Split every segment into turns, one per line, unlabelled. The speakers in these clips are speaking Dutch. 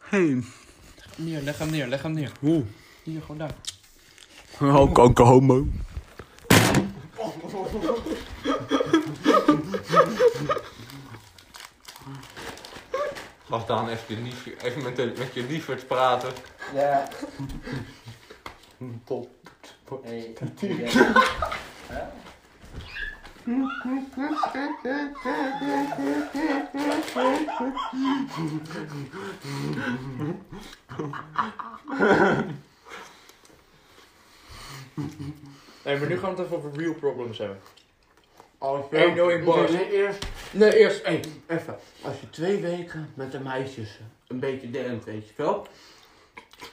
heen.
Hier, leg hem neer, leg hem neer.
Oeh.
Hier, gewoon daar.
Oh, kanker homo.
Mag Daan even, je lief, even met, de, met je lieverd praten?
Ja.
Top.
Hey. ja.
Nee, maar nu gaan we het even over real problems hebben.
Als
Hey, no in bars.
Nee, eerst, nee, eerst hey, even. Als je twee weken met de meisjes eh, een beetje DM't, weet je wel.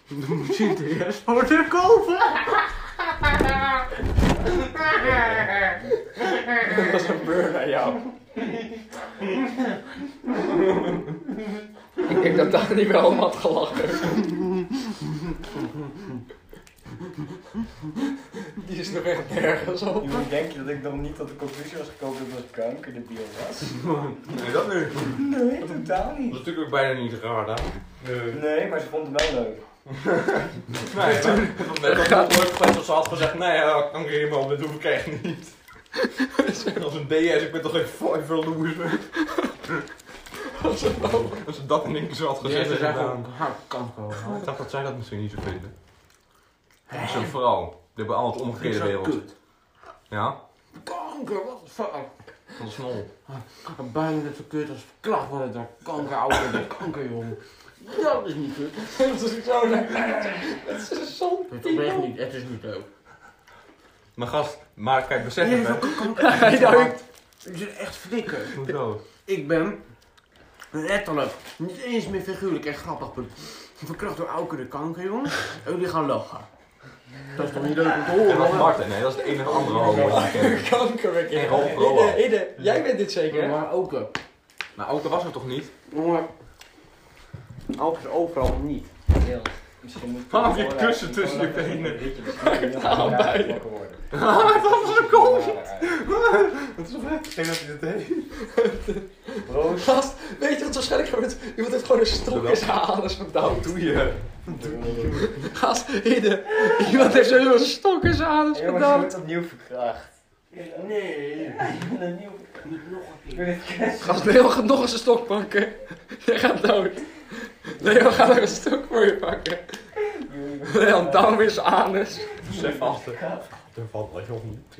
Dan moet je de eerst voor de kopen.
Dat is een burn aan jou. Ik denk dat daar niet wel om had gelachen. Die is nog echt nergens op.
Jullie denken dat ik nog niet tot de conclusie was gekomen dat het kanker de bio was?
Nee, dat nu. Dat
Nee, totaal
is
niet.
natuurlijk ook bijna niet raar, Daan. Nee.
Nee, maar ze vond het wel leuk.
Nee, dat net als dat wordt gezegd, als ze had gezegd, nee, ja, kanker helemaal, dat doe ik echt niet. Als een DS, ik ben toch geen fiver loser. Als ze dat in één keer zo had
De
gezegd,
eerste zijn
had ik
gewoon
gedaan.
hard kanker.
Ik dacht dat zij dat misschien niet zo vinden. Zo'n vrouw, die hebben altijd omgekeerde wereld.
Kut.
Ja?
Kanker, wat de fuck.
Dat is snol.
Bijna net zo kut als verklacht worden door kanker, ouder dan kanker, jongen. Dat is niet kut.
Dat is zo Het is zo
Het is echt niet, het is niet leuk.
Maar gast, maar kijk, besef het, hè.
Hij duikt. Het is echt flikker.
Hoezo?
Ik ben letterlijk niet eens meer figuurlijk echt grappig. punt. Verkracht door Auke de kanker, jongen. En jullie gaan lachen. Dat is toch niet leuk om te
En dat
horen?
is Martin, nee, dat is de enige andere homo die ik ken.
kanker weer
En
keer.
Rolf Roa.
Hidde, jij bent dit zeker? hè?
Maar Auke.
Maar Auke was er toch niet?
Jongen. Auke is overal niet.
Heel. Misschien moet ik...
Waarom heb je kussen tussen je benen? Ah,
Allebei.
Dat is een Dat is toch dat hij dat deed?
Roos.
Gast, weet je wat waarschijnlijk gebeurt? Iemand heeft gewoon een stok in zijn anus gedouwd.
Wat doe je?
Gast, Hidde, iemand heeft zo een stok in zijn anus
Jongens, je
gedouwd.
wordt opnieuw verkracht.
Nee.
Ik ben opnieuw verkracht.
Niet nog een
Ik
keer.
ben het kussen.
Gast, Leo gaat nog eens een stok pakken. Jij gaat dood. Leo gaat nog een stok voor je pakken. Leo, down is anus.
Zeg vast. Er valt wel heel niet.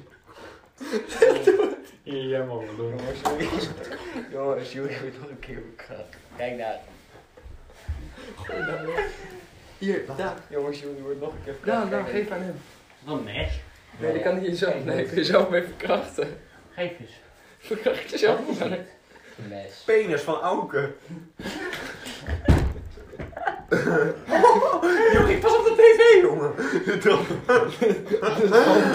Jij mag het doen.
Jongens, jullie- Jongens, jullie wordt nog een keer verkracht. Kijk daar.
Hier, daar,
Jongens, jullie wordt nog een keer
daar,
verkracht.
daar,
Kijk,
geef aan hem.
Wat mes?
Nee, die kan niet jezelf, nee, kun je zelf mee verkrachten.
Geef eens.
Verkracht jezelf niet aan
een Mes.
Penis van Auke. Jochie, pas op de tv, jongen.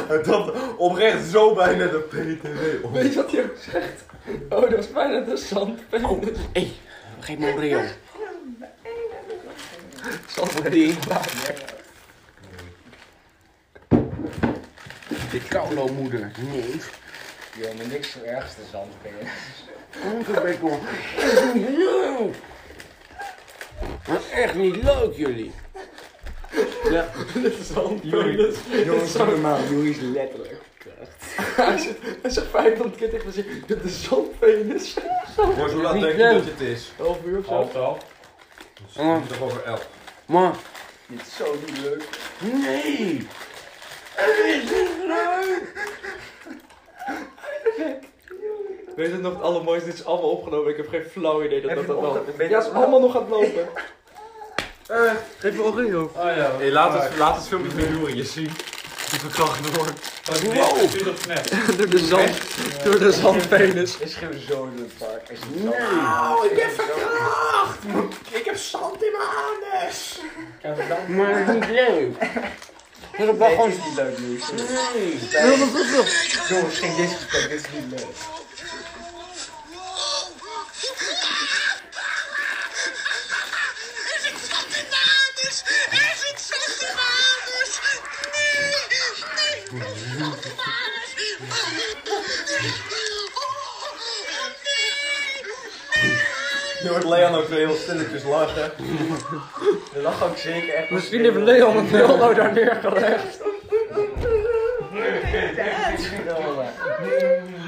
Dat, dat oprecht zo bijna de PTV. op.
Weet je wat hij ook zegt? Oh, dat is bijna de
Oh.
zandpenis.
Hé, geef me een reel.
Zandpenis.
Die. De koude moeder. Nee.
Yo, maar niks zo ergs dan zandpenis.
Kankerbekkel. Dat is niet leuk. Dat is echt niet leuk, jullie. Ja.
Zandpenis.
Jongens, doe normaal. Jullie is letterlijk.
Hij zegt- hij zegt 500 keer tegen me, zegt, dit is zandpenis.
Jongens, hoe laat denk je dat het is?
Half uur of zo.
elf.
Ah.
Het is over elf.
Maar,
Dit is zo niet leuk.
nee. Het is niet leuk.
Weet je nog het allermooiste? Dit is allemaal opgenomen. Ik heb geen flauw idee dat
Heb je
dat dat
het
wel.
opge- ben je
Ja, het
dat
is
wel-
allemaal nog aan het lopen.
Geef me een reel.
Oh ja,
Hey, laat, het, laat het filmpje van Jury je zien. Die verkracht wordt.
dat is
Wow.
net, dit of net.
Door de zand. Door de zandpenis.
Dit is gewoon zo in het park. Is het
ik ben verkracht! Ik heb zand in mijn anus!
Maar het is niet leuk. Dat is wel
Nee,
gewoon...
dit is niet leuk, Louis.
Nee.
Jongens, geen disrespect. Dit is niet leuk.
Is het zand in mijn anus? Is het zand in mijn anus? Nee, nee, het is zand in mijn anus. Oh, nee, oh, nee, nee.
Jongens,
Leon ook heel stilletjes lachen.
Dat lag ook zeker echt.
Misschien heeft Leon een dildo daar neergelegd.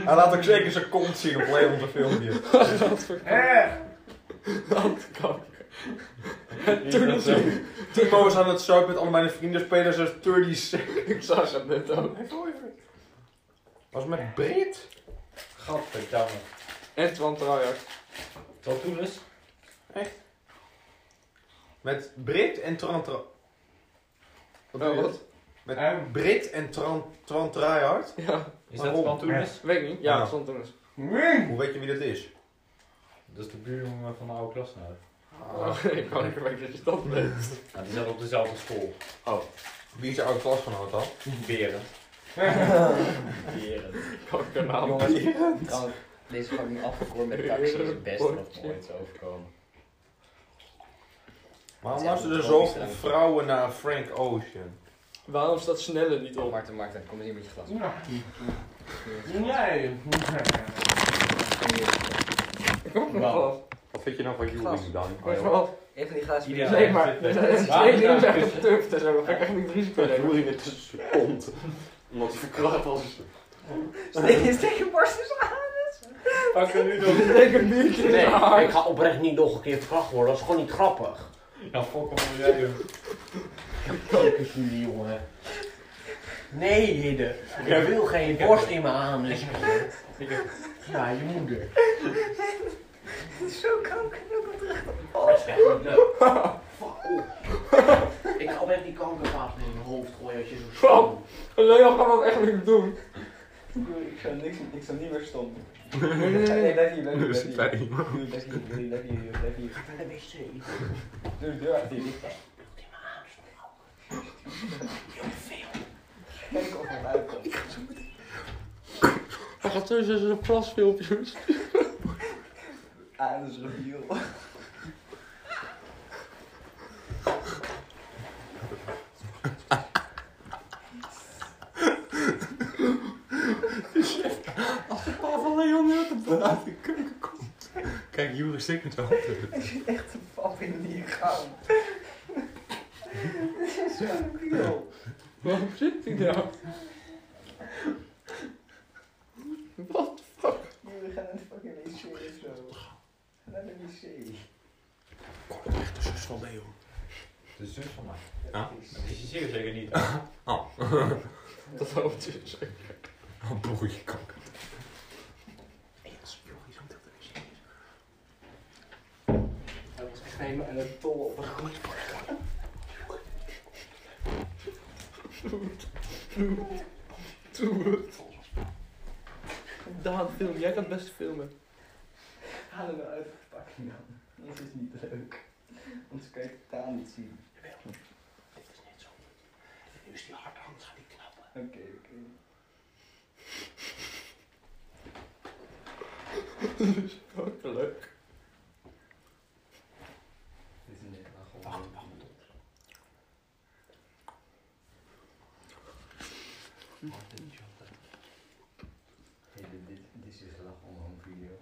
Hij laat ook zeker zijn kont zien op Leon's filmpje.
Wat voor kanker. En toen zo.
Timo is aan het zuipen met allemaal mijn vrienden dus spelen ze 30 seconds.
Ik zag het net ook.
Was het met Brit?
Gadverdamme.
Echt van trouwens.
Wat toen is?
Met Brit en Tran Tran.
Oh, wat?
Met
Ehm.
Brit en Tran Tran Tryhard?
Ja,
Is
Waarom?
dat van toen is?
weet ik niet. Ja,
Ja.
het stond dus. toen eens.
Hoe weet je wie dat is?
Dat is de buurjongen van de oude klas nou.
Ah.
Ah.
Oh, ik kan niet weten dat je dat weet.
Nou, die zat op dezelfde school.
Wie is je oude klasgenoot dan?
Berend. Berend.
Kanker naam.
Trouwens, deze fucking afgekort met taxi is het beste wat me ooit is overkomen.
Waarom
Ja,
luisteren er
dat
zoveel
is wel. eh,
vrouwen naar Frank Ocean?
Waarom staat sneller niet op?
Marten, Marten, kom eens hier met je glas.
Nee.
Kom maar
Wauw.
af.
Wat vind je nou van Juwing dan?
Kom
Oh,
maar af.
Even van die glazen
Ideaal.
bier.
Nee, maar.
Waarom?
Ik neem echt getuft en zo. Dan ga ik echt niet het risico nemen.
Juwing het is zijn kont. Omdat hij verkracht was.
Steek steek je borst eens aan.
Pak er nu door.
Ik denk een biertje in
Nee,
zijn haar.
ik ga oprecht niet nog een keer verkracht worden. Dat is gewoon niet grappig.
Ja, fok hem jij hem.
Kanker jullie, jongen. Nee, Hidde. Ik wil geen borst in mijn anus. Ja, je moeder.
Zo kan ik ook terug.
Dat is echt niet leuk. Fuck op. Ik ga oprecht die kankervaas in mijn hoofd gooien als je zo
Wow.
stom.
Leon gaat dat echt niet doen.
Ik zou niks, ik zou niet meer stom. Nee, nee, nee. Nee, blijf hier, blijf hier, blijf hier. Blijf hier, blijf hier, blijf hier, blijf hier.
Ik ga naar de wc.
Doe de deur achter je. Kijk of hij eruit komt.
Hij gaat tussen zijn plasfilmpjes.
Ah, dat is reveal.
Van Leon nu uit de uit de keuken komt. Kijk, Juwing steekt met zijn hand in het.
Echt een pap in die gang. Dit is zo reveal.
Waarom zit hij daar?
Jullie gaan naar de fucking wc of zo. Ga naar de wc.
De zus van Leon.
De zus van mij.
Ja.
Dat is je zeker zeker niet.
Dat hoopt hij zeker.
Oh, broertje kanker.
Dat was echt helemaal aan het tol op de grond.
Doe het. Daan, film. Jij kan het beste filmen.
Haal hem uit de verpakking dan. Dat is niet leuk. Want ze kan je het totaal niet zien. Jawel. Dit is net zo. Nu is die hard, anders gaat die knappen. Oké, oké.
Ook leuk.
Dit is net maar gewoon... Wacht, wacht. Dit, dit, dit is dus lach onder een video.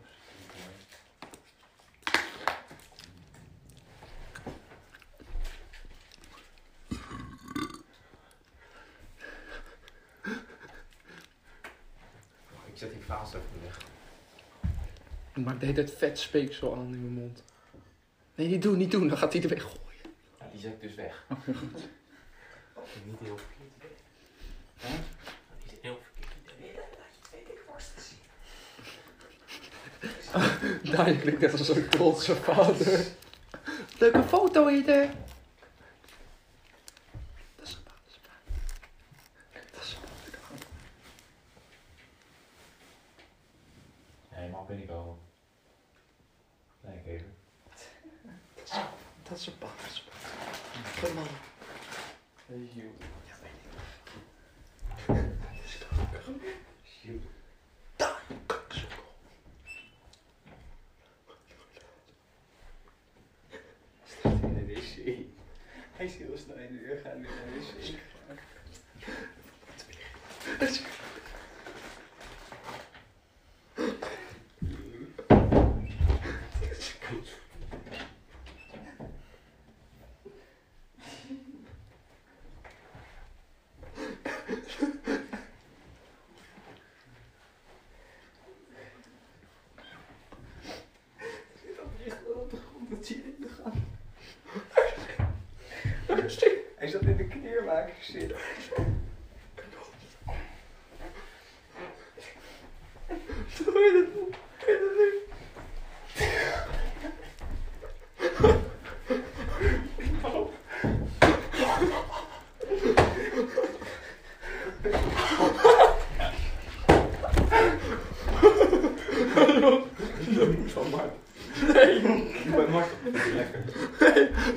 Oh, Ik zet die vaas even weg.
Maar deed het vet speeksel aan in mijn mond. Nee, niet doen, niet doen. Dan gaat hij er weg.
Nou, die zet ik dus weg.
Daar klinkt net als een trotse vader. Leuke foto, Ede. Dat is een vader. Dat is een
Nee, mag binnenkomen. Nee, kijk even.
Dat is een paard. Dat is een paard. Kom maar.
Hey, Hugh. Hugh. Hij staat in de wc. Hij is heel snel in de deur gaan weer naar de wc.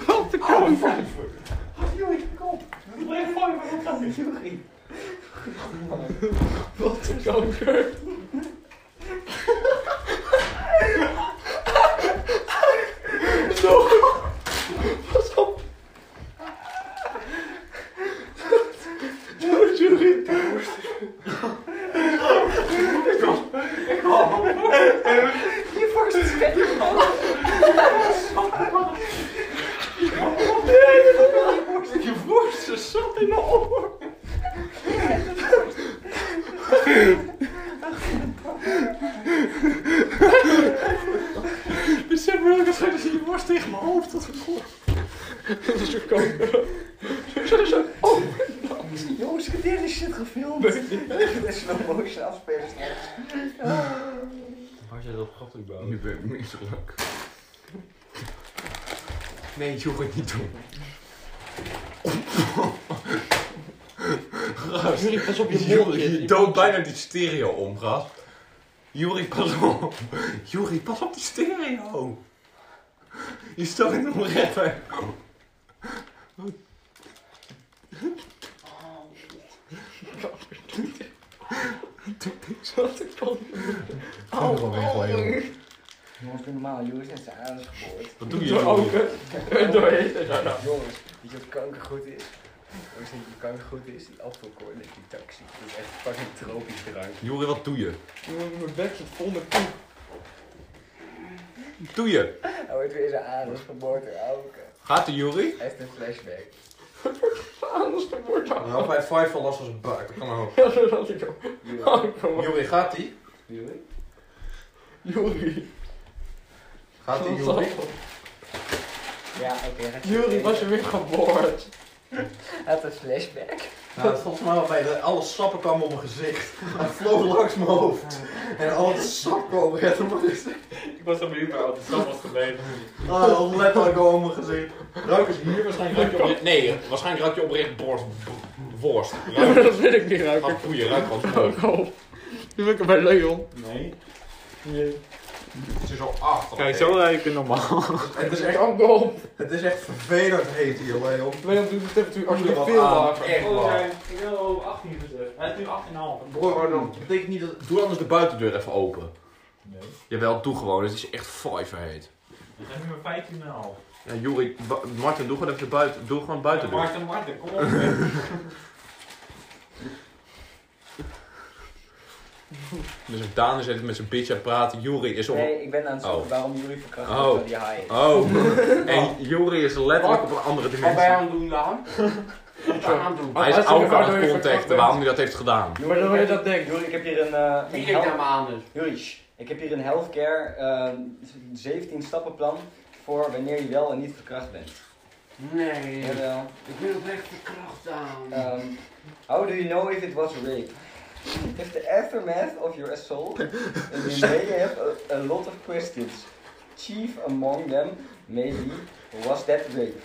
Wat de kont.
Joey, kom. Blijf gooien, maar dat gaat niet. Joey.
Wat een kanker. Zo. Pas op. Zo, Jury.
Je worst is zat in mijn oor.
Dus
Besef me ook eens dat je worst tegen mijn hoofd had gegooid.
Dit is je kanker.
Jongens, ik heb deze shit gefilmd. Het is slow motion afspelen.
Waar zit dat gat überhaupt?
Nu ben ik misselijk. Nee, jongen, niet doen. Gast,
Jury, pas op je mond.
Jury, je doodt bijna die stereo om, gast. Jury, pas op. Jury, pas op die stereo. Je staat in de rechter.
Wat een kanker.
Kan er wel weggooien, joh.
Jongens, doe normaal. Jongens, net zijn aders geboord.
Wat doe je,
Door
Jury?
open. Doorheen.
Jongens, weet je wat kanker goed is? Jongens, weet je wat kanker goed is? Die appelkoorn en die taxi. Dat is echt fucking tropisch drank.
Jury, wat doe je?
Jongen, Mijn bek zit vol met poep.
Wat doe je?
Hij wordt weer zijn aders geboord door Auke.
Gaat er, Jury?
Hij heeft een flashback.
Anders dan wordt dat.
Nou, bij Firefall last als een buik, dat kan ook.
Ja, dat had ik al.
Joey.
Oh, kom op.
Jury, gaat die?
Joey?
Jury.
Gaat die, Jury?
Ja, oké. hij gaat-
Jury was er weer geboord.
Hij had een flashback.
Nou, volgens mij bij de, alle sappen kwamen op mijn gezicht. Hij vloog langs mijn hoofd. En al het sap kwam recht op mijn gezicht.
Ik was er benieuwd naar wat er was gebleven.
Oh, letterlijk al op mijn gezicht. Ruik is hier waarschijnlijk ruik je op- Nee, waarschijnlijk ruik je oprecht borst. Worst.
Ja, maar dat wil ik niet ruiken.
Ruik koeien, ruik gewoon smoke.
Ook al. Nu ben ik er bij Leon.
Nee. Het is al achter.
Kijk, zo lijken normaal.
Het is, echt,
Kanker op.
het is echt vervelend heet hier, Leon.
Leon doet de temperatuur alsjeblieft
Wat
veel
aan,
lager.
Echt waar.
Oh, Ik wil 18 gezegd. Hij is nu 18,5.
Broer, dat betekent niet dat... Doe anders de buitendeur even open. Nee. Jawel, doe gewoon. Het is echt vijverheet.
Ik heb nu maar 15,5.
Ja, Juri, wa- Martin, doe gewoon even de buiten. Doe gewoon buiten
dus.
doen.
Martin, Martin, kom op.
Dus Daan is even met zijn bitch aan het praten. Juri is op.
Nee, ik ben aan het zoeken
Oh.
waarom jullie verkracht
Oh.
worden door die haaien.
Oh. En Juri is letterlijk op een andere
Wat ben je
dimensie.
aan het doen dan? Wat ben je aan het doen?
Hij is
Wat is er
ook
waardoor
aan
je
het contacten
verkracht
waarom hij dat heeft gedaan.
Joey,
Maar dan wil je
ik heb-
dat denken.
Joey, ik heb hier een... eh,
Wie
een
kijkt
hel-
naar me aan dus?
Joey, shh. ik heb hier een healthcare eh, 17 stappenplan voor wanneer je wel en niet verkracht bent.
Nee.
Jawel.
Ik wil oprecht de kracht aan.
Um, how do you know if it was rape? If the aftermath of your assault, you may have a, a lot of questions. Chief among them may be, was that rape?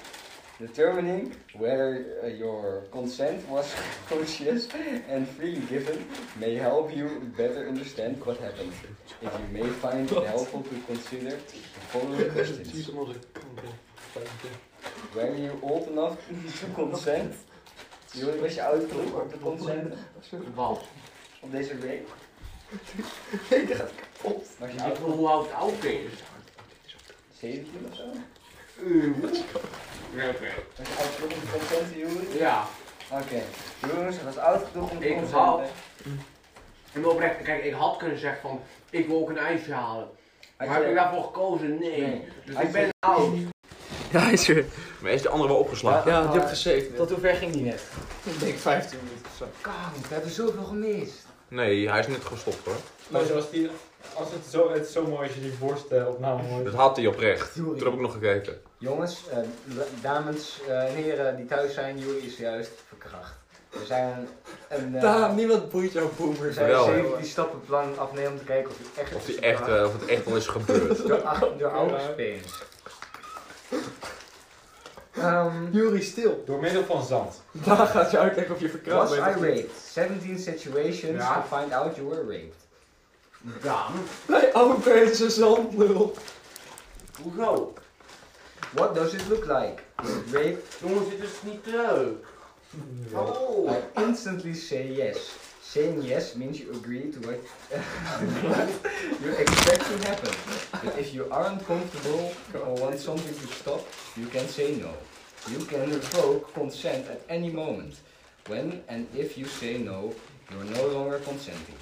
Determining whether uh, your consent was conscious and freely given may help you better understand what happened. If you may find it helpful to consider the following questions. Were you old enough to consent? Jullie was je oud genoeg te consent
Wat?
op deze week?
Ik dacht kapot.
Was je
Ik
oud
wil hoe oud Auke is.
17 of zo?
Oké, oké.
Was je oud genoeg om te consenten, Jullie?
Ja.
Oké. Jongens, was oud genoeg om te
Ik
consenten.
En wil oprecht, kijk, ik had kunnen zeggen van, ik wil ook een ijsje halen. Maar
Had
heb ik
je-
daarvoor gekozen? Nee.
Nee.
Dus
Hij
ik ben oud.
Ja, hij is weer.
Maar is de andere wel opgeslagen?
Ja, je hebt gesaved.
Tot hoever ging die net?
Ik denk 15 minuten zo.
Kan, we hebben zoveel gemist.
Nee, hij is net gestopt hoor.
Maar zoals die, als het, zo, het is zo mooi als je die borstelopname hoort.
Dat had hij oprecht.
Juri.
Toen heb ik nog gekeken.
Jongens, eh, la- dames eh, en heren die thuis zijn, jullie is juist verkracht. We zijn een, eh,
Daan, niemand boeit jouw
we
boomers.
zijn
wel.
17 stappen plan afnemen om te kijken of je echt
Of,
is
die echt,
verkracht.
eh, of het echt wel is gebeurd.
Door, ach- door oude spins. Um,
Jury, stil.
Door middel van zand.
Daan gaat je uitleggen of je verkracht
was I
bent.
raped? 17 situations
Ja.
to find out you were raped.
Daan.
Bij Albert zijn zandlul.
Hoezo?
What does it look like? Rape.
Jongens, dit is niet leuk. Oh.
I instantly say yes. Saying yes means you agree to what, what you expect to happen. But if you aren't comfortable or want something to stop, you can say no. You can revoke consent at any moment. When and if you say no, you're no longer consenting.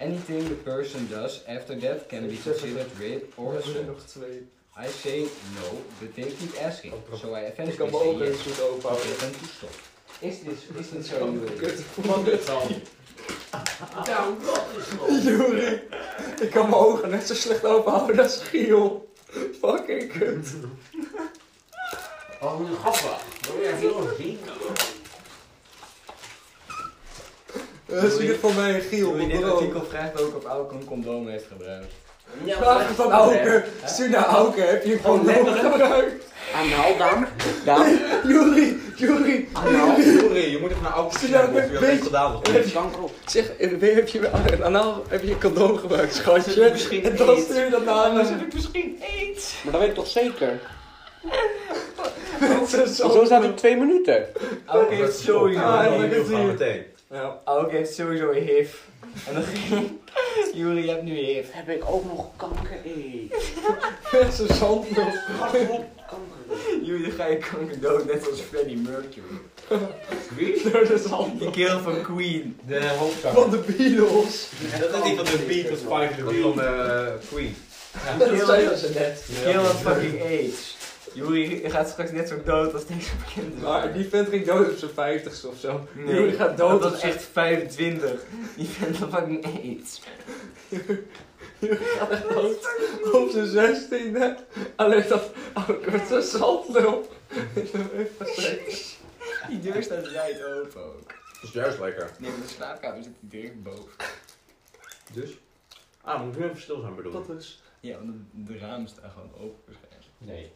Anything the person does after that can be considered rape or assault.
twee.
I say no, but they keep asking, so I
Ik kan
eventually
me
say
ook een
yes.
goed
But
openhouden.
they tend to stop.
Is dit, is dit zo, Juri?
Kut, wat dit dan?
Juri, ik kan mijn ogen net zo slecht openhouden als Giel. Fucking kut.
Oh, wat grappig. Wil je heel zien?
Eh, Zie het voor mij, Giel.
In dit
bro.
artikel vraagt ook of Auken een condoom heeft gebruikt.
Vraag het van Auke. Stuur naar Auke, heb je een condoom gebruikt?
Anaal dan? Dan?
Juri, Juri,
Anaal?
Sorry, je moet even naar oud
Zie
zien
je nou,
of je dat
weet
heeft
je-
gedaan of
Met
niet.
kanker op.
zeg, eh, heb je een anaal, heb je een condoom gebruikt, schatje?
Misschien
en dan
aids.
stuur je dat naar
Dan zit
me.
ik misschien aids.
Maar dat weet ik toch zeker?
Zo-
Zo staat het twee minuten.
Auken heeft sowieso
Ah,
een
dat
HIV.
is het meteen.
Auken heeft sowieso een HIV. En dan ging Juri, je hebt nu HIV.
Heb ik ook nog kanker? Hey.
Met zijn zand nog.
kanker.
Juri, dan ga je kanker dood, net als Freddie Mercury.
Door de zand.
Die keel van Queen.
De hoofdzanger.
Van de Beatles.
Dat is die van de Beatles, Spike the Beatles. Van eh, Queen.
Dat zeiden ze net.
Die keel van fucking AIDS. Juri gaat straks net zo dood als deze bekende.
Maar die vent ging dood op zijn vijftigste of zo.
Nee,
Juri gaat
dat
dood op
was
zijn...
echt 25. Die vindt van fucking AIDS.
Juri gaat echt dood op zijn zestiende. Alleen dat... oh, Auke met zijn zandlul.
Die deur staat wijd open ook.
Dat is juist lekker.
Nee, maar de slaapkamer zit die direct boven.
Dus? Ah, moet ik nu even stil zijn bedoel ik.
Dat is...
Ja, want de, de ramen staan gewoon open waarschijnlijk.
Nee.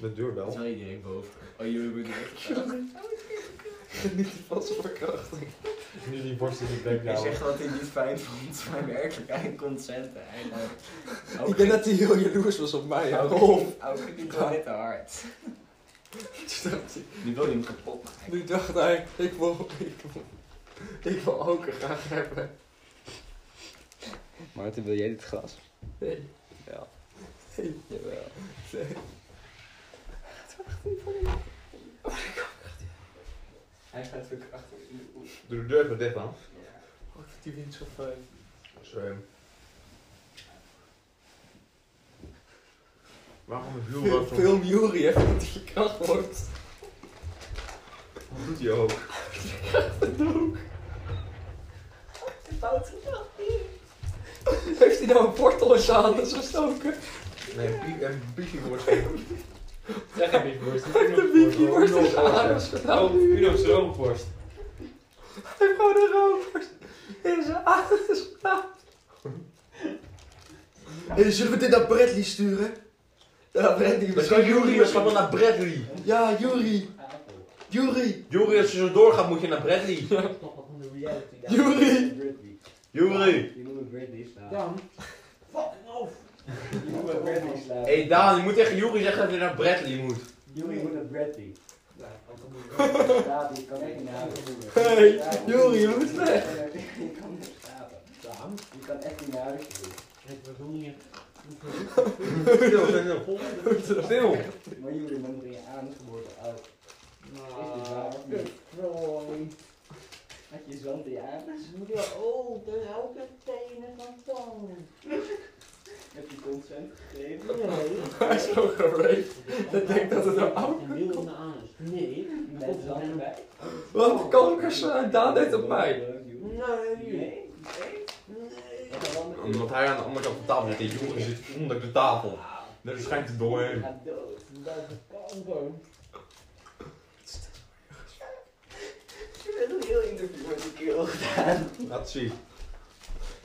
Met deur
Dat is
wel.
wel direct boven. Oh, jullie moeten echt...
Geniet van zijn verkrachting.
Nu die borst in die bek
Hij
nou.
zegt dat hij het niet fijn vond, maar werkelijk hij consente.
Ik denk dat hij heel jaloers was op mij. hè. Rolf.
Ook die wel net te hard. Nu wil je hem kapot maken.
Nu dacht hij, ik wil, ik wil, ik wil ook een graag hebben.
Maarten, wil jij dit glas?
Nee.
Ja.
Nee.
Jawel.
Nee.
Hij gaat ook achter u.
Doe de deur even dicht dan.
Oh, ik vind die wind zo fijn.
Zo. Waarom heeft Hugo wel zo'n...
Film Jury heeft dat hij verkracht wordt.
Wat doet hij ook?
Heeft hij nou een wortel in zijn handen gestoken?
Nee, pie- een biefieborst. Een
Zeg een biefworst.
De wiki wordt in zijn handen gestoken.
Uno's roomworst.
Hij heeft gewoon een roofworst in zijn handen gestoken.
Eh,
Hey, zullen we dit naar Bradley sturen?
Ja, Brandy,
Misschien Jury is gewoon naar Bradley.
Ja, Juri. Juri.
Jury, als je zo doorgaat moet je naar Bradley.
Jury.
Jury.
Je moet Bradley slaan.
Dan.
Je moet Bradley slaan.
Hé hey Daan, je moet tegen Jury zeggen dat hij naar Bradley moet.
Juri moet naar Bradley. Ja, ik kan echt niet nadenken.
Hey, Jury, je moet weg.
Je kan niet slapen. Je kan echt niet nadenken.
Stil, stil, stil. Stil.
Maar jullie moeten je aangeboren uit. Is dit waar of niet? Ah, Had je zand in je anus?
Oh, de elke tenen van Toon.
Heb je consent gegeven?
Hij is zo geraped. Ik denk dat het een oude
Heel in de anus. Nee.
Met zand erbij?
Wat kankers eh, Daan deed op mij.
Nee.
Nee?
Nee.
Wat een ander-
Omdat hij aan de andere kant van de tafel zit. Die Jury zit onder de tafel. Daar schijnt het
Je
doorheen.
gaat dood. Dat is een kanker. Je bent een heel interview met die kerel gedaan.
Laat zien.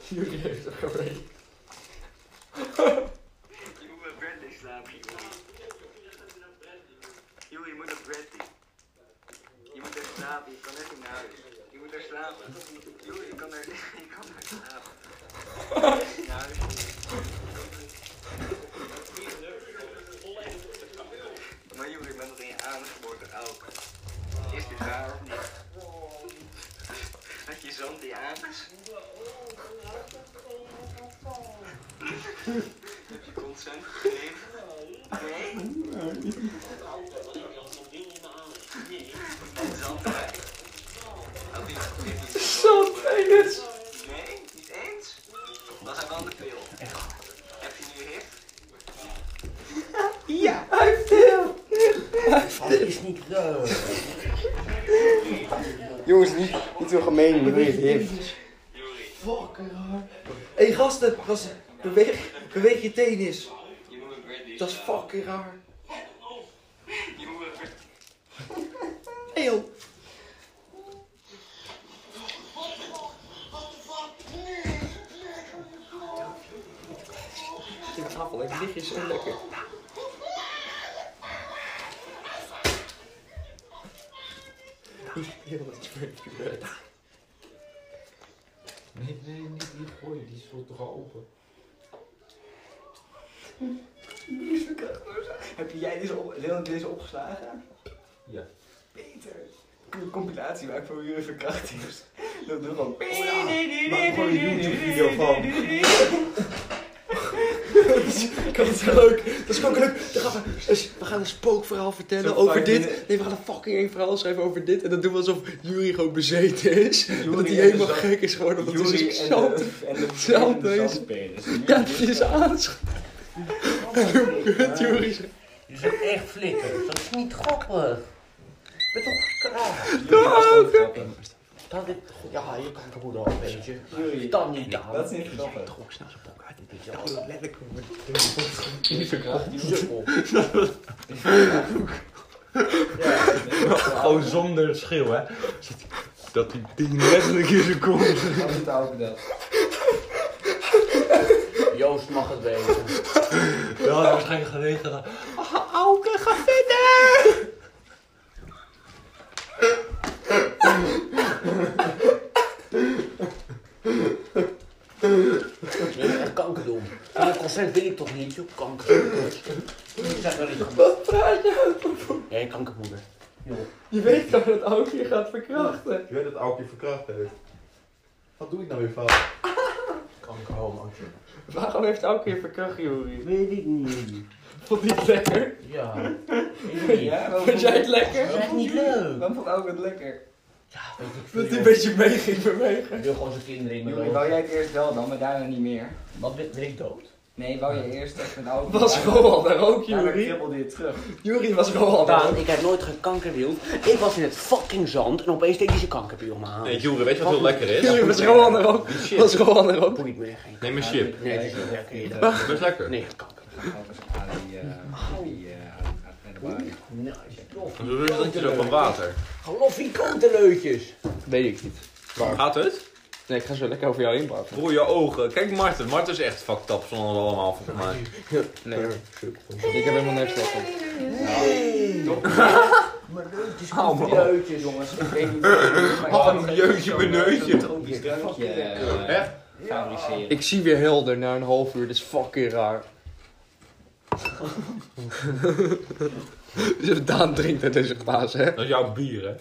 Jury heeft hem geraped.
Je moet met Bradley slapen, Joey. Joey, je moet op Bradley. Je moet daar slapen, je kan net niet naar huis. Je moet daar slapen. Joey, je kan daar, je kan daar slapen. Je kan echt niet naar huis.
je raar of niet? Had je zo'n diabetes? Heb je consent gegeven? Nee. Nee? Zandwijk. Had hij nog niet Nee, niet eens? Was hij wel de pil? Heb je nu HIV?
Jongens, niet, niet zo gemeen, je weet het.
Hé hey, gasten, gasten, beweeg, beweeg je teen eens.
Je moet een British.
Dat is fucking raar.
Je moet een British.
Hey joh.
Die tafel heeft lichtjes zo lekker. Heel wat je
Nee, nee, niet hier gooien, die is toch al open.
Heb jij deze, op, Leon, deze opgeslagen?
Ja.
Peter. Een compilatie waar ik voor jullie verkracht is. Dat doe ik gewoon.
Maak gewoon een YouTube-video van.
Ik vind het zo leuk. Dat is ook leuk. Dan gaan we, dus we gaan een spookverhaal vertellen
Zo'n
over
vijf
dit.
minuten.
Nee, we gaan een fucking eng verhaal schrijven over dit. En dan doen we alsof Jury gewoon bezeten is. en dat
en
hij
de
helemaal
zand-
gek is geworden. Dat
Jury
is
en
zo
de- en de
zelf
en de
deze.
zandpenis.
Ja, dat is aanschouwd. Jury is
Je zit echt flikker. dus Dat is niet grappig. Je bent toch kraag. Dat is... Ja, je kan het goed al, weet je.
Jury,
Dan niet aan.
dat is niet grappig.
Toch snel zijn bok uit. Dit is wel letterlijk
Jullie verkracht.
sukkel.
Gewoon zonder schil, hè. Dat die ding letterlijk in zijn kont
Dat is elke dag.
Joost mag het weten.
Ja, dat had waarschijnlijk gelegen. dat-
Je moet echt kanker doen. Maar dat consent wil ik toch niet, joh. Kanker. Ik zeg wel iets Wat praat je nou over? Nee, kankermoeder.
Je weet dat het ook je gaat verkrachten.
Je weet dat Aukje verkracht heeft. Wat doe ik nou weer fout? Kankerhomootje.
Waarom heeft ook je verkracht, Jury?
Weet ik niet.
Vond hij het lekker?
Ja. Weet ik niet.
Ja, waarom
Vond jij
vond-
het lekker?
oh,
Dat is echt niet leuk.
waarom vond Auke het lekker?
Ja, weet ik
Dat
oh.
veel.
hij een
joh.
beetje mee ging bewegen.
Ik wil gewoon zijn kinderen in mijn
Jury,
leven.
wou jij het eerst wel dan, maar daarna niet meer?
Wat ben, ben ik dood?
Nee, wou je eerst echt met Auke?
Was Roald daar ook,
Ja, maar
Jury?
kribbelde je terug.
Jury was Roald daar
Daan,
ook.
ik heb nooit gekankerwield. Ik was in het fucking zand en opeens deed hij zijn kankerwiel me aan.
Nee, Jure, weet je wat heel lekker is?
Jury was Roald daar ook. Was Roald daar ook.
Boeit me geen
Neem een chip.
Nee, dat is niet lekker.
Dat is lekker.
Nee, het kanker.
Alkes
ah,
Ali, eh, die, eh, gaat naar de bar.
Een rustigje zo van water.
Geloof die kanteleutjes.
Weet ik niet.
Gaat het?
Nee, ik ga zo lekker over jou heen praten.
Broer, je ogen. Kijk Marten. Marten is echt fucked up van ons allemaal, volgens mij.
Nee. Ik heb helemaal niks last van.
Kanteleutjes, jongens.
Ik weet niet meer. Maar
Wat een
ik had
jeugdje
zo'n-
beneutje.
zo'n tropisch drankje eh,
Echt?
fabriceren.
Ik zie weer helder na een half uur, dit is fucking raar. Daan drinkt uit deze glazen, hè?
Dat is jouw bier, hè?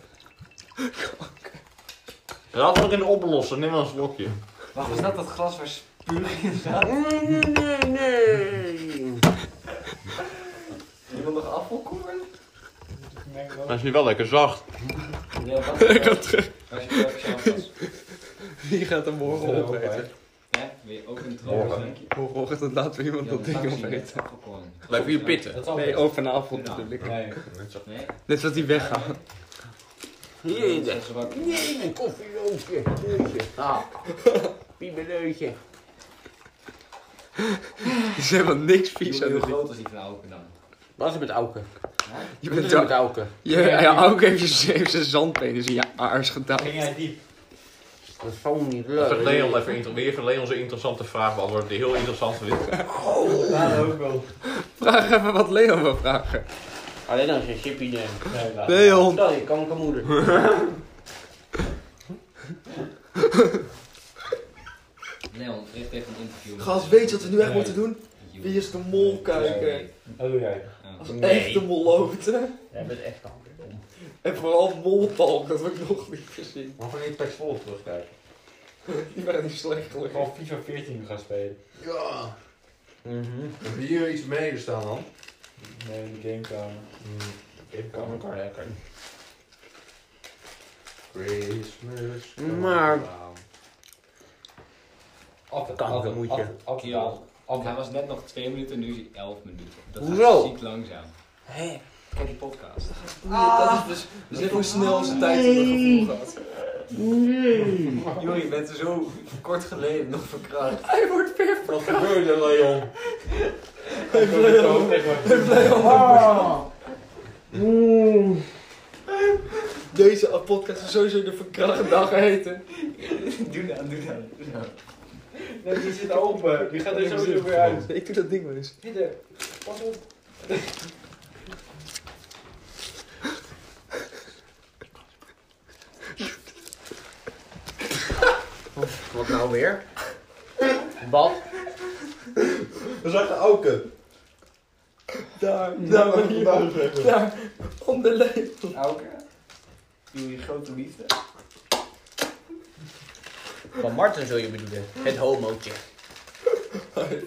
Laten we erin oplossen. Neem maar een slokje.
Wacht, was dat dat glas waar spuug in zat?
Nee, nee.
Iemand nog afvalkoren?
Dat is nu wel lekker zacht.
Nee, wat? Ik had terug. Als je welke chance was.
Wie gaat er morgen opeten?
Hè? Wil je ook een tropisch drankje?
Morgenochtend laten we iemand dat ding opeten.
Blijf hier pitten.
Nee, ook vanavond natuurlijk.
Nee.
Net zoals die weggaan.
Hier, dit. Nee, een koffieleutje. Leutje. Ah, piebeleutje.
Die is helemaal niks vies aan
Hoe
het doen.
groot was die van Auken dan?
Wat is er met Auken?
Je
Wat
bent
is er met
daar.
Auken?
Ja, ja, ook heeft ze- heeft zijn zandpenis in je aars gedaan.
Ging jij diep?
Dat is zo niet
Even
leuk.
Leon, even, inter- weer even Leon zijn interessante vraag beantwoorden. Die heel interessant vindt.
Ja, ook wel.
Vraag even wat Leon wil vragen.
Alleen als je een chippy neemt.
Nee, laat.
Leon!
Sorry, kankermoeder.
Leon, richt even een interview. Eh,
Gast, weet je wat we nu echt
Nee.
moeten doen? Wie is de mol kijken?
Wat doe jij?
Als echt de mol loopt, hè?
Jij bent echt kanker.
En vooral moltalk, dat heb ik nog niet gezien.
Maar gewoon niet per vol terugkijken.
Die waren niet slecht gelukkig.
Gewoon FIFA 14 gaan spelen.
Ja.
Mhm. Heb je hier iets mee staan dan?
Nee, de gamekamer.
Gamekamer kan lekker. Christmas.
Maar- Kankermoedje.
Afdaal.
Hij was net nog 2 minuten, nu is hij 11 minuten. Dat
Hoezo?
gaat ziek langzaam.
Hé,
Kijk die podcast.
dat is dus. We zitten hoe snel zijn tijd in het gevoel gaat.
Nee.
Jullie bent er zo kort geleden nog verkracht.
Hij wordt weer
Wat gebeurde, Leon?
Oeh.
Deze podcast is sowieso de verkrachte dag heten.
Doe dat, doe dat.
Nee, die zit open. Die gaat er sowieso weer uit.
Ik doe dat ding maar eens.
Pieter, pas op.
Wat nou weer? Wat?
We zagen Auke.
Daar, daar, maar hier. Daar, om de lepel.
Auke, jullie grote liefde.
Van Martin zul je bedoelen. Het homootje.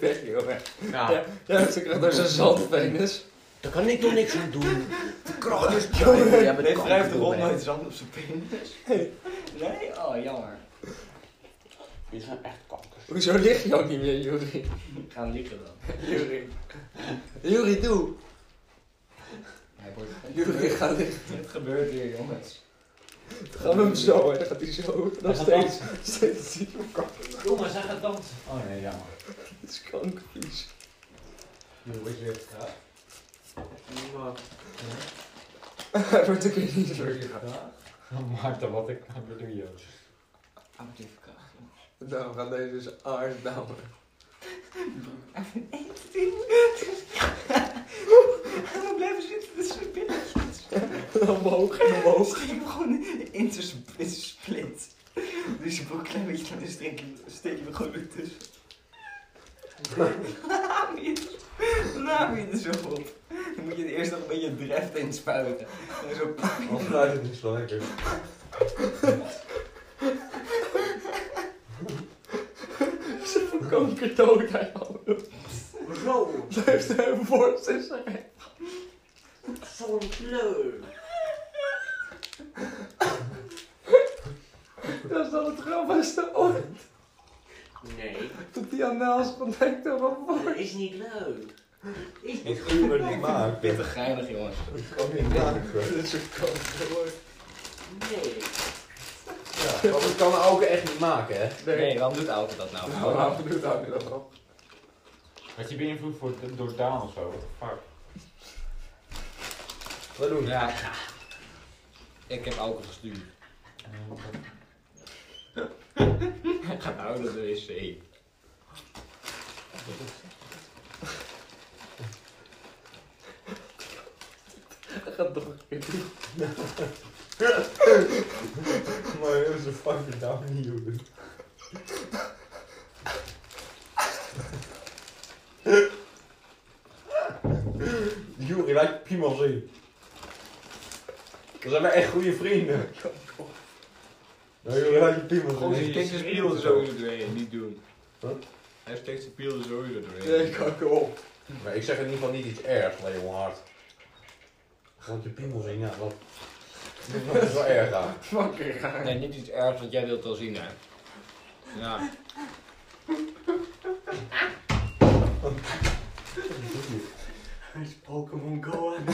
Weg, jongen.
Ja.
Ja, ze krijgt daar zijn zandpenis.
Daar kan ik toch niks aan doen. De kracht is klein. Jij bent
Nee, wrijft de
kankerdomme.
rond nooit zand op zijn penis. Nee? Oh, jammer.
Dit zijn echt kankers.
Hoezo lig je ook niet meer, Juri?
Gaan liggen dan.
Juri. Juri, doe.
Hij wordt...
Juri, ga liggen.
Het gebeurt weer, jongens.
Dan gaan we hem zo, hè. Dan gaat hij zo. Dan steeds, steeds dieper.
Jongens, hij gaat dansen.
Oh nee, jammer.
Het is kankervies.
Word je weer verkracht?
Hij wordt ook weer niet
Word
leuk.
je verkracht?
Maarten, wat ik aan bedoel je?
Ah, word je verkracht, jongen.
Nou, we gaan deze dus aardnamen.
We blijven zitten tussen zijn billetjes.
Omhoog en omhoog.
Steek hem gewoon in tussen in zijn split. Dus je broek een klein beetje naar de steek steek je hem gewoon weer tussen. Na wie er zo op. Dan moet je er eerst nog een beetje dreft in spuiten. En zo pak je
Of gaat het niet zo lekker?
Ze kanker dood, hij al.
Zo,
Hij heeft een borst in zijn bek.
zo'n kleur.
Dat is dan het grappigste ooit.
Nee,
Dat die aan naast van denkt aan mijn borst.
dat is niet leuk.
Ik kun me niet maken.
pittig geinig, jongens.
Ik kan niet maken.
Dit is een kanker, hoor.
Nee.
Ja, want ik kan Auke echt niet maken, hè?
Nee, waarom doet Auto dat nou?
Nou, laten we doen daar nu dan op.
Had je beïnvloed voor, door Daan of zo? Fuck. Wat doen?
Ja. Ik heb Auto gestuurd. Gaat Auto naar de wc.
Dat gaat nog een keer doen.
Maar hebben ze fucking Daan niet doen. Juri lijkt prima zien. We zijn wij echt goede vrienden. Nou, Juri lijkt prima
Hij steekt zijn piel er sowieso doorheen, niet doen.
Wat?
Hij steekt zijn piel er sowieso doorheen.
Nee, kanker op.
Maar ik zeg in ieder geval niet iets ergs, Leon Hart. Want je piemel zien, ja, wat. Dat is wel erg aan.
Fucking raar.
Nee, niet iets ergs, want jij wilt wel zien, hè? Ja.
Hij is Pokémon Go aan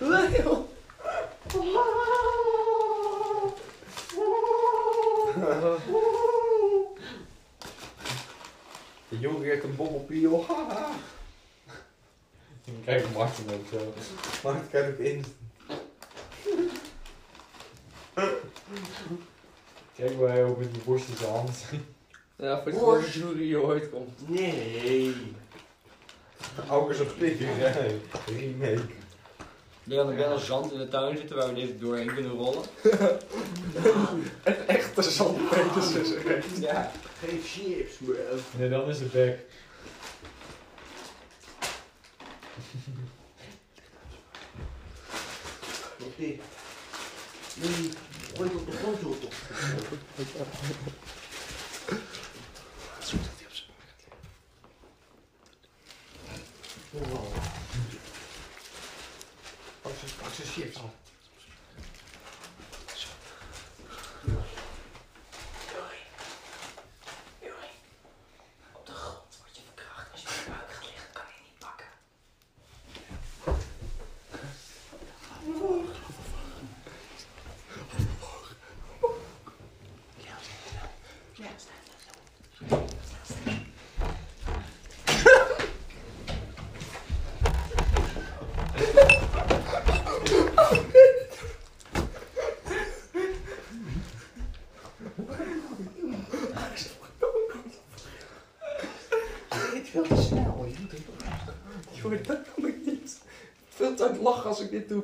Leo.
De jongen heeft een bobbelpiel. Kijk, Martin ook zo. Martin kan het in. Kijk waar hij ook met die borst in zijn hand.
Ja, voor de jury ooit komt.
Nee.
Aukers op sticker, hè? Remake.
Leon, er wel zand in de tuin zitten waar we deze doorheen kunnen rollen.
Een echte zandpeters is er echt.
Ja.
Geen chips, bro.
Nee, dan is het back.
Wat dit? Nee, gooi het op de grond, joh, toch? Pak ze- Pak ze chips.
Dit veel te snel, je doet het heel rustig.
Jongen, dat kan ik niet. Veel tijd lachen als ik dit doe.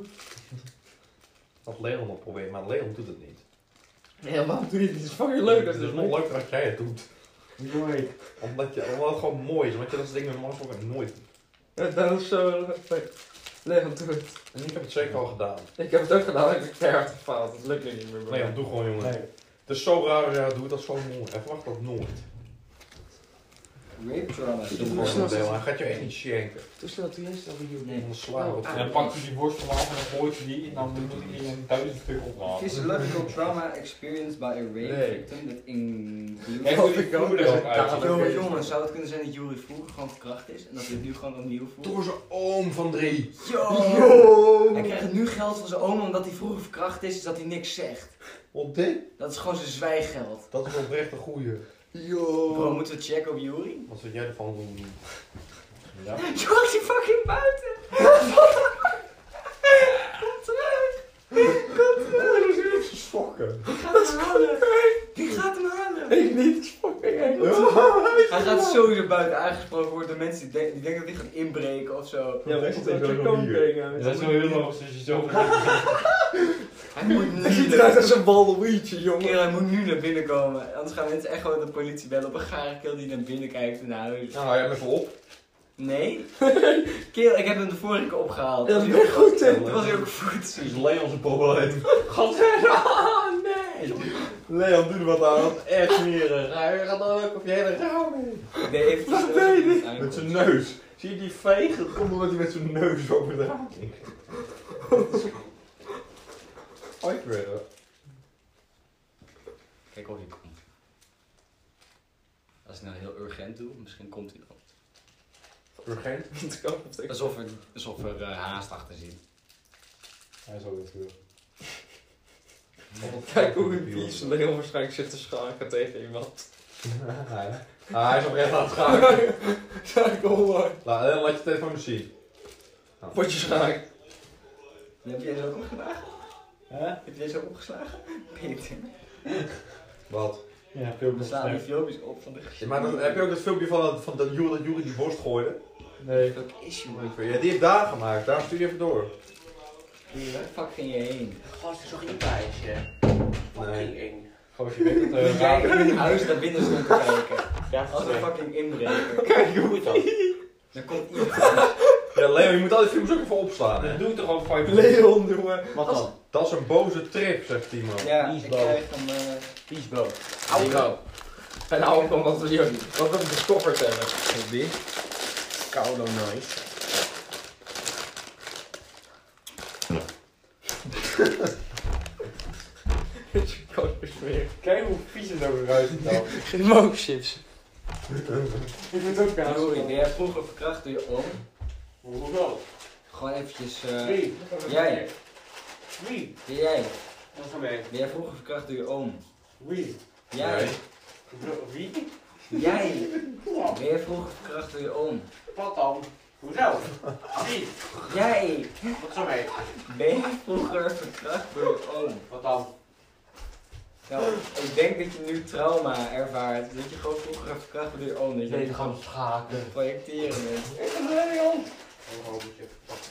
Dat Leon nog probeert, maar Leon doet het niet.
Nee, waarom doe je dit? Het is fucking
Het is nog leuker als jij het doet.
Mooi.
Omdat, je, omdat het gewoon mooi is, omdat je dat soort dingen met motherfucker nooit doet.
Ja, dat is zo eh, perfect. Leon, doe het.
En ik heb het zeker al gedaan.
Ik heb het ook gedaan, ik heb keihard gefaald. Dat lukt nu niet meer.
Leon, doe gewoon jongen.
Nee.
Het is zo raar als jij dat doet, dat is gewoon mooi. Hij verwacht dat nooit.
Rape trauma.
Dat is gewoon een deel, hij gaat je echt niet schenken.
Doe snel, doe jij snel bij jullie.
Nee, dan slaan we
En
op.
dan
pak
pakt
je die worst van af en dan gooit je die en dan moet je die in duizend stuk ophalen.
Physiological trauma experienced by a rape
Nee.
victim that includes...
Echt hoe die voordeel uit.
Jongen, jongen, zou het kunnen zijn dat Jury vroeger gewoon verkracht is en dat dit nu gewoon opnieuw voelt?
Door zijn oom van drie.
Yo!
Oh,
Hij krijgt nu geld van zijn oma omdat hij vroeger verkracht is, dus dat hij niks zegt.
Op dit?
Dat is gewoon zijn zwijggeld.
Dat is oprecht een goeie.
Bro, moeten we checken op Jury?
Wat vind jij ervan doen? Ja.
Jury is fucking buiten! Kom terug! Kom terug!
Sokken.
Dat is halen! Wie gaat hem halen?
Ik niet, is fucking eng.
Hij gaat sowieso buiten aangesproken worden door mensen die, denken- die denken dat hij gaat inbreken of zo.
Ja, dat is
Komt dat
een
je
koning
Dat is
uit.
wel heel logisch als je zo
Hij moet
Hij ziet
nu,
eruit als een Waluigi, jongen.
Kerel, hij moet nu naar binnen komen. Anders gaan mensen echt gewoon de politie bellen op een gare kerel die naar binnen kijkt en naar huis.
Nou, jij bent wel op.
Nee? Kerel, ik heb hem de vorige keer opgehaald.
Ja, dat
Toen
ben ik goed in.
was hij ook voet.
Is Leon zijn probleem.
Gadverdamme, nee.
Leon, doe er wat aan. Dat is echt smerig. Hij gaat dan ook op je hele raam heen.
Nee, even
Wat deed hij? Met zijn neus. Zie je die veeg? Dat komt omdat hij met zijn neus over de raam ging. Ooit weer. hè?
Kijk of hij komt. Als ik nou heel urgent doe, misschien komt hij dan.
Urgent.
Alsof er, alsof er eh, haast achter zit.
Hij is ook weer terug.
Kijk hoe een bies Leon waarschijnlijk zit te schaken tegen iemand.
Ah, hij is oprecht aan het schaken.
Ja, ik hoor maar.
Laat, eh, laat je telefoon zien.
Potje schaak.
Heb jij deze ook opgeslagen?
Hè?
Heb je deze ook opgeslagen? Peter,
Wat?
Ja,
we slaan die filmpjes op van de
Ja, maar dan heb je ook dat filmpje van, dat- van dat Jury dat Jury die worst gooide?
Nee.
Welk issue, man?
Ja, die heeft daar gemaakt. Daar stuur je even door.
Waar de fuck ging je heen?
Gast, is toch niet bij je? Fucking eng.
Gewoon als je weet eh. dat
Toen jij in het huis naar binnen stond te kijken.
Ja,
Als een
fucking
fucking inbreker.
Kijk hoe het dan.
Dan komt iemand.
Ja, Leo, je moet al die films ook even opslaan, hè?
doe ik toch ook vijf
Leon, jongen.
Wat dan?
Dat is een boze trip, zegt Timo.
Ja,
Die is
ik
boos.
krijg hem. eh,
Piesbo.
Auto. En nou komt wat we hier Wat we gestofferd hebben. Wie?
Koudo nice.
Ik kan het niet meer.
Kijk hoe vies het ook eruit ziet dan.
Geen mookchips.
Ik moet ook aan.
Sorry, ben jij vroeger verkracht door je oom?
Hoewel.
Gewoon eventjes. eh,
Wie?
jij,
Wie?
ben jij.
Wat voor mij?
Ben jij vroeger verkracht door je oom?
Wie?
Jij.
Wie?
Jij. Ben jij vroeger verkracht door je oom?
Wat dan? Hoezo? Wie?
Jij.
Wat zo mee?
Ben jij vroeger verkracht door je oom?
Wat dan?
Nou, ik denk dat je nu trauma ervaart. Dat je gewoon vroeger verkracht werd door je oom. Dat je
Deze gaan schaken.
projecteren bent.
Ik ben Leon.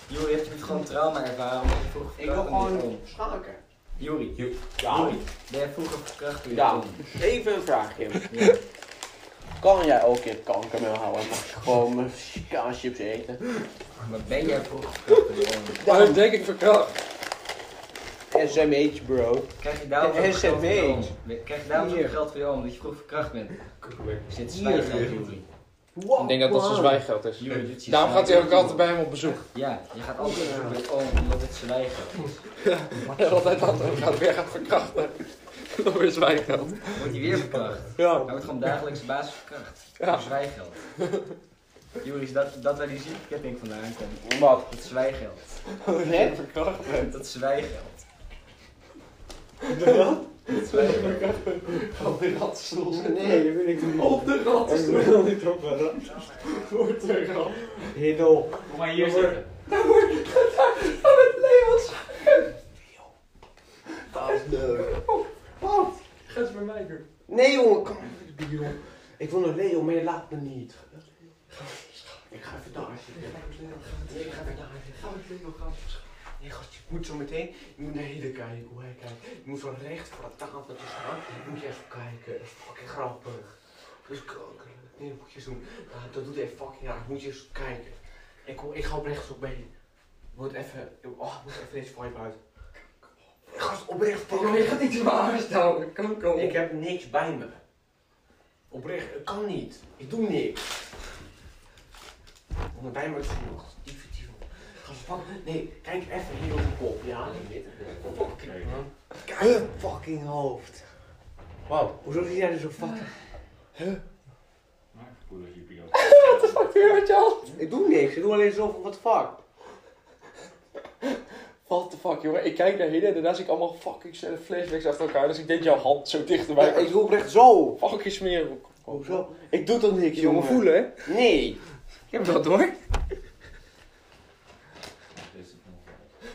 Jori, heb je niet gewoon trauma ervaren omdat je vroeger
Ik wil
verkracht bent door je
gewoon
oom?
schaken.
Jori,
Ja.
Jori, ben jij vroeger verkracht door je
Ja,
oom?
even een vraagje.
Ja.
Kan jij ook je kankermeel houden? Mag je gewoon kaaschips eten?
Maar ben jij vroeger verkracht door je oom?
Daarom denk ik verkracht.
SMH bro.
Krijg je daarom
De
zoveel geld van je
SMH.
oom? Krijg je daarom zoveel
Hier.
geld van je oom omdat je vroeger verkracht bent? Zit zwijgeld, Jori.
Ik denk dat dat zijn zwijggeld is.
Jori, dit is je
Daarom gaat hij ook
zwijggeld.
altijd bij hem op bezoek.
Ja, je gaat altijd zo bij je oom omdat het zwijgeld is.
En altijd altijd hem gaat weer gaan verkrachten. Dan weer zwijggeld.
Wordt hij weer verkracht?
Ja.
Hij wordt gewoon dagelijks basis verkracht.
Ja.
Voor zwijgeld. Jori, is dat, dat waar die ziekenketting vandaan komt?
Wat?
Dat zwijgeld.
Net verkracht bent.
Dat zwijgeld.
Op de ratstoel.
Nee, dat wil ik niet.
Op de
Ik
ratstoel.
wil niet op een rat. Voor de rat. Hidel.
Kom maar hier zitten.
Dat is leuk.
Ga eens bij mij doen.
Nee jongen, kom. Dion. Ik wil naar Leo, maar je laat me niet. Ik ga even daar zitten. Ik ga even daar zitten. Ga met Leo, ga met Leo. Nee gast, je moet zo meteen, je moet naar Hidel kijken hoe hij kijkt. Je moet zo recht voor dat tafeltje staan. Je moet je even kijken. Dat is fucking grappig. Dat is kankerlijk. Nee, dat moet je eens doen. Ja, dat doet hij fucking raar. Moet je eens kijken. Ik, kom, ik ga oprecht op mee. Moet even, oh, ik moet even deze vibe uit. Gast, oprecht fucking.
Je gaat iets waars houden. Kan komen.
Ik heb niks bij me. Oprecht, het kan niet. Ik doe niks. Om bij me te zien, gast. Die fiets Ga ze pakken. Nee, kijk even hier op de kop. Ja, dit. Fucking man. Kijk, hun fucking hoofd.
Wat?
Hoezo zie jij er zo fucking...
Eh. Wat weer met jou?
Ik doe niks. Ik doe alleen zo van, what the fuck.
What the fuck, jongen. Ik kijk naar heden en daarna zie ik allemaal fucking snelle flashbacks achter elkaar. Dus ik denk jouw hand zo dichterbij.
Ik doe oprecht zo.
Fucking smeren.
Hoezo?
Ik doe toch niks,
jongen.
Voelen, hè?
Nee.
Ik heb dat hoor.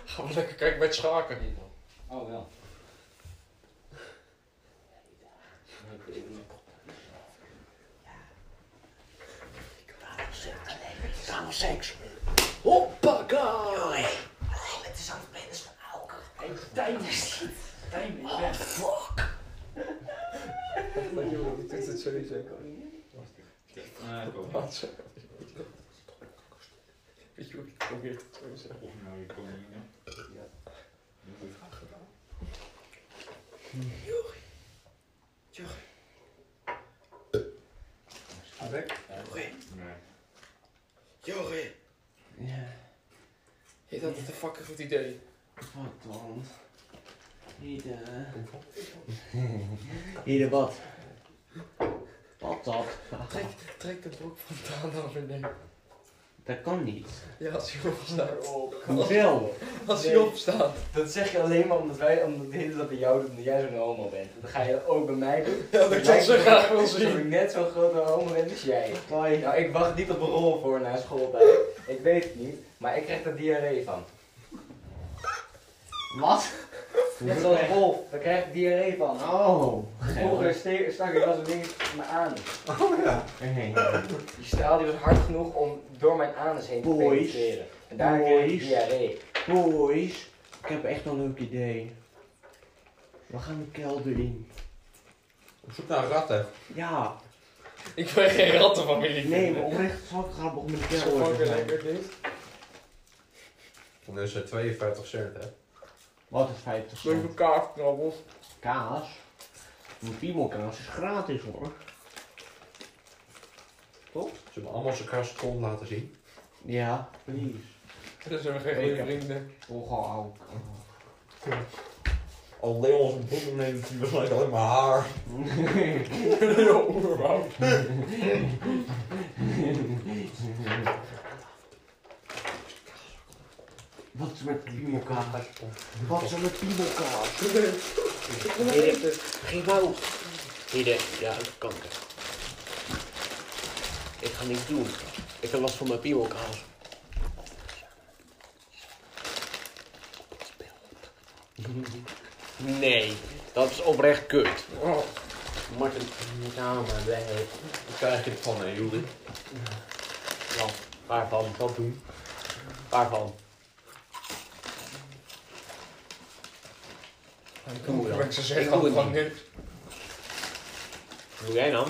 Gaan we lekker kijken met schaken.
Oh wel.
Samen seks. Hoppaka. Het is aan het mensen van elke. Tijn is Oh fuck.
Weet je hoe ik het probeer te doen, zeg.
Jorrit.
Ik had het een fucking goed idee.
Wat dan? Hide. Hide wat? Wat dat?
Trek, trek de broek van Daan af en neem.
Dat kan niet.
Ja, als hij opstaat.
Hoeveel?
Als hij
Nee.
opstaat.
Dat zeg je alleen maar omdat wij, omdat de hele dat bij jou doen, omdat jij zo'n homo bent. Dat ga je dat ook bij mij doen.
Ja, dat kan ze graag wel zien.
Dat ik net zo'n grote homo ben als jij. Nou, ik wacht niet op een rol voor na schooltijd. Ik weet het niet, maar ik krijg er diarree van.
Wat?
Net zoals Wolf, daar krijg ik diarree van.
Oh.
Vroeger ste- stak ik dat soort dingen me aan.
Hey.
Die straal die was hard genoeg om door mijn anus heen te
Boys.
penetreren. En daar kreeg ik
Boys.
diarree.
Boys, ik heb echt een leuk idee. We gaan de kelder in.
Op zoek naar ratten.
Ja,
Ik ben geen rattenfamilie.
nee, maar oprecht is wel grappig om in de
Dat is wel
kelder te
fucking
gaan.
lekker, dit.
Dan is het 52 cent, hè?
Wat is 50
Leuk
cent?
elkaar knabbels.
Kaas? Een piemelkaas is gratis hoor.
Ze hebben allemaal zijn kaarskont laten zien.
Ja, please.
Dat zijn we geen goede
Lekker.
vrienden.
Ongehouden.
Alleen onze boeken neemt hij waarschijnlijk alleen maar haar.
Heel oerwoud.
Wat is met piemelkaas? Wat is er met piemelkaas?
Hide. Geen wou. Hide. Ja, ik heb kanker. Ik ga niks doen. Ik heb last van mijn piemelkaas. Nee, dat is oprecht kut. Martin, ja, maar nee.
Daar krijg je het van, hè, Juri?
Ja, waarvan?
Wat doen? Waarvan?
Doe
dan.
Ik
Ik
zeggen
doe het
gewoon
niet.
niks.
Wat doe jij dan?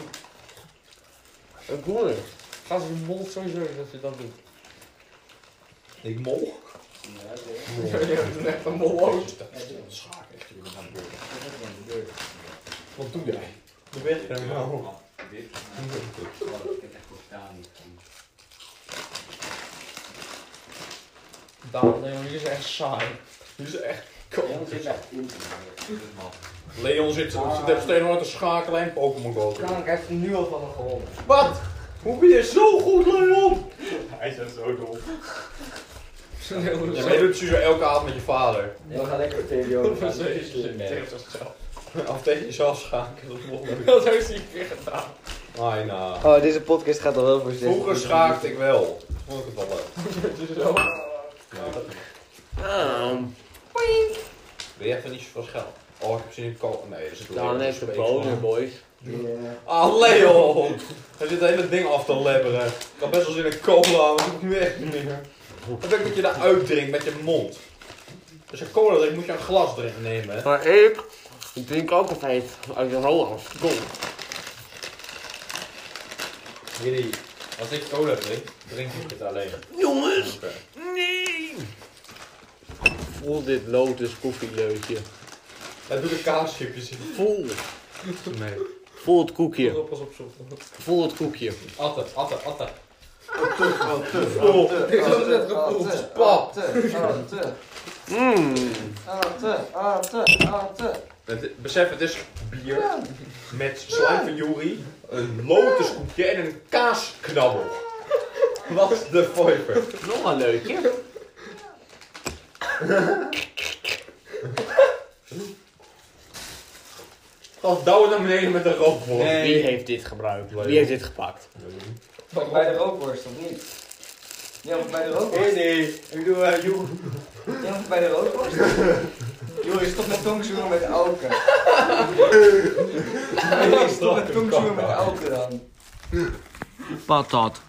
Ik doe het. Ga ze mond sowieso dat je dat doet.
Ik mol?
Ja, je hebt echt een mol ook.
Wat doe jij? Dat weet ik helemaal.
Daan, nee, die is echt saai.
Die is echt Leon zit echt Leon zit, zit op steen te schakelen en Pokémon Go. te doen.
Kank heeft er nu al van me gewonnen.
Wat? Hoe ben je zo goed, Leon?
Hij is zo dom.
Ja, maar je doet het zo elke avond met je vader.
Dan ga lekker tegen jou.
Dat is
Nee.
Of tegen jezelf schakelen. Dat is nog leuk.
Dat heeft hij weer gedaan.
Ai, nou.
Oh, deze podcast gaat al wel voor zes.
Vroeger schaakte ik wel. Vond ik het wel leuk.
Zo.
Ja.
Ah,
Ben jij van iets van geld? Oh, ik heb zin in koken. Nee, dat is het
Dan heeft de bonen, boys.
Ah, Leon! Hij zit het hele ding af te lebberen. Ik had best wel zin in cola, maar dat doe ik nu echt niet meer. Dan wil ik dat je dat uitdrinkt met je mond. Als je cola drinkt, moet je een glas erin nemen. hè.
Maar ik, ik drink ook altijd uit de Holland. Kom.
Jullie, als ik cola drink, drink ik het alleen.
Jongens,
Oké.
nee! Voel dit lotus koffieleutje.
Daar doe ik kaasschipjes in.
Voel,
Nee.
voel het koekje.
Pas op, zoek.
Voel het koekje.
Atte, atte, atte. Oh,
Ik had net gevoeld.
Pap!
Mmm.
Het- Besef, het is bier met slijm van Juri, een lotuskoekje en een kaasknabbel. Wat de foiper.
Nog een leukje.
Gast, douw het naar beneden met een rookbol.
Wie heeft dit gebruikt? Wie heeft dit gepakt?
Bij de rookworst of niet? Jij moet bij de rookworst.
nee. Ik doe uh, Juri.
Jij moet bij de rookworst. Joh, stop met tongzoenen met alken. Joh, stop met tongzoenen met alken dan.
Patat.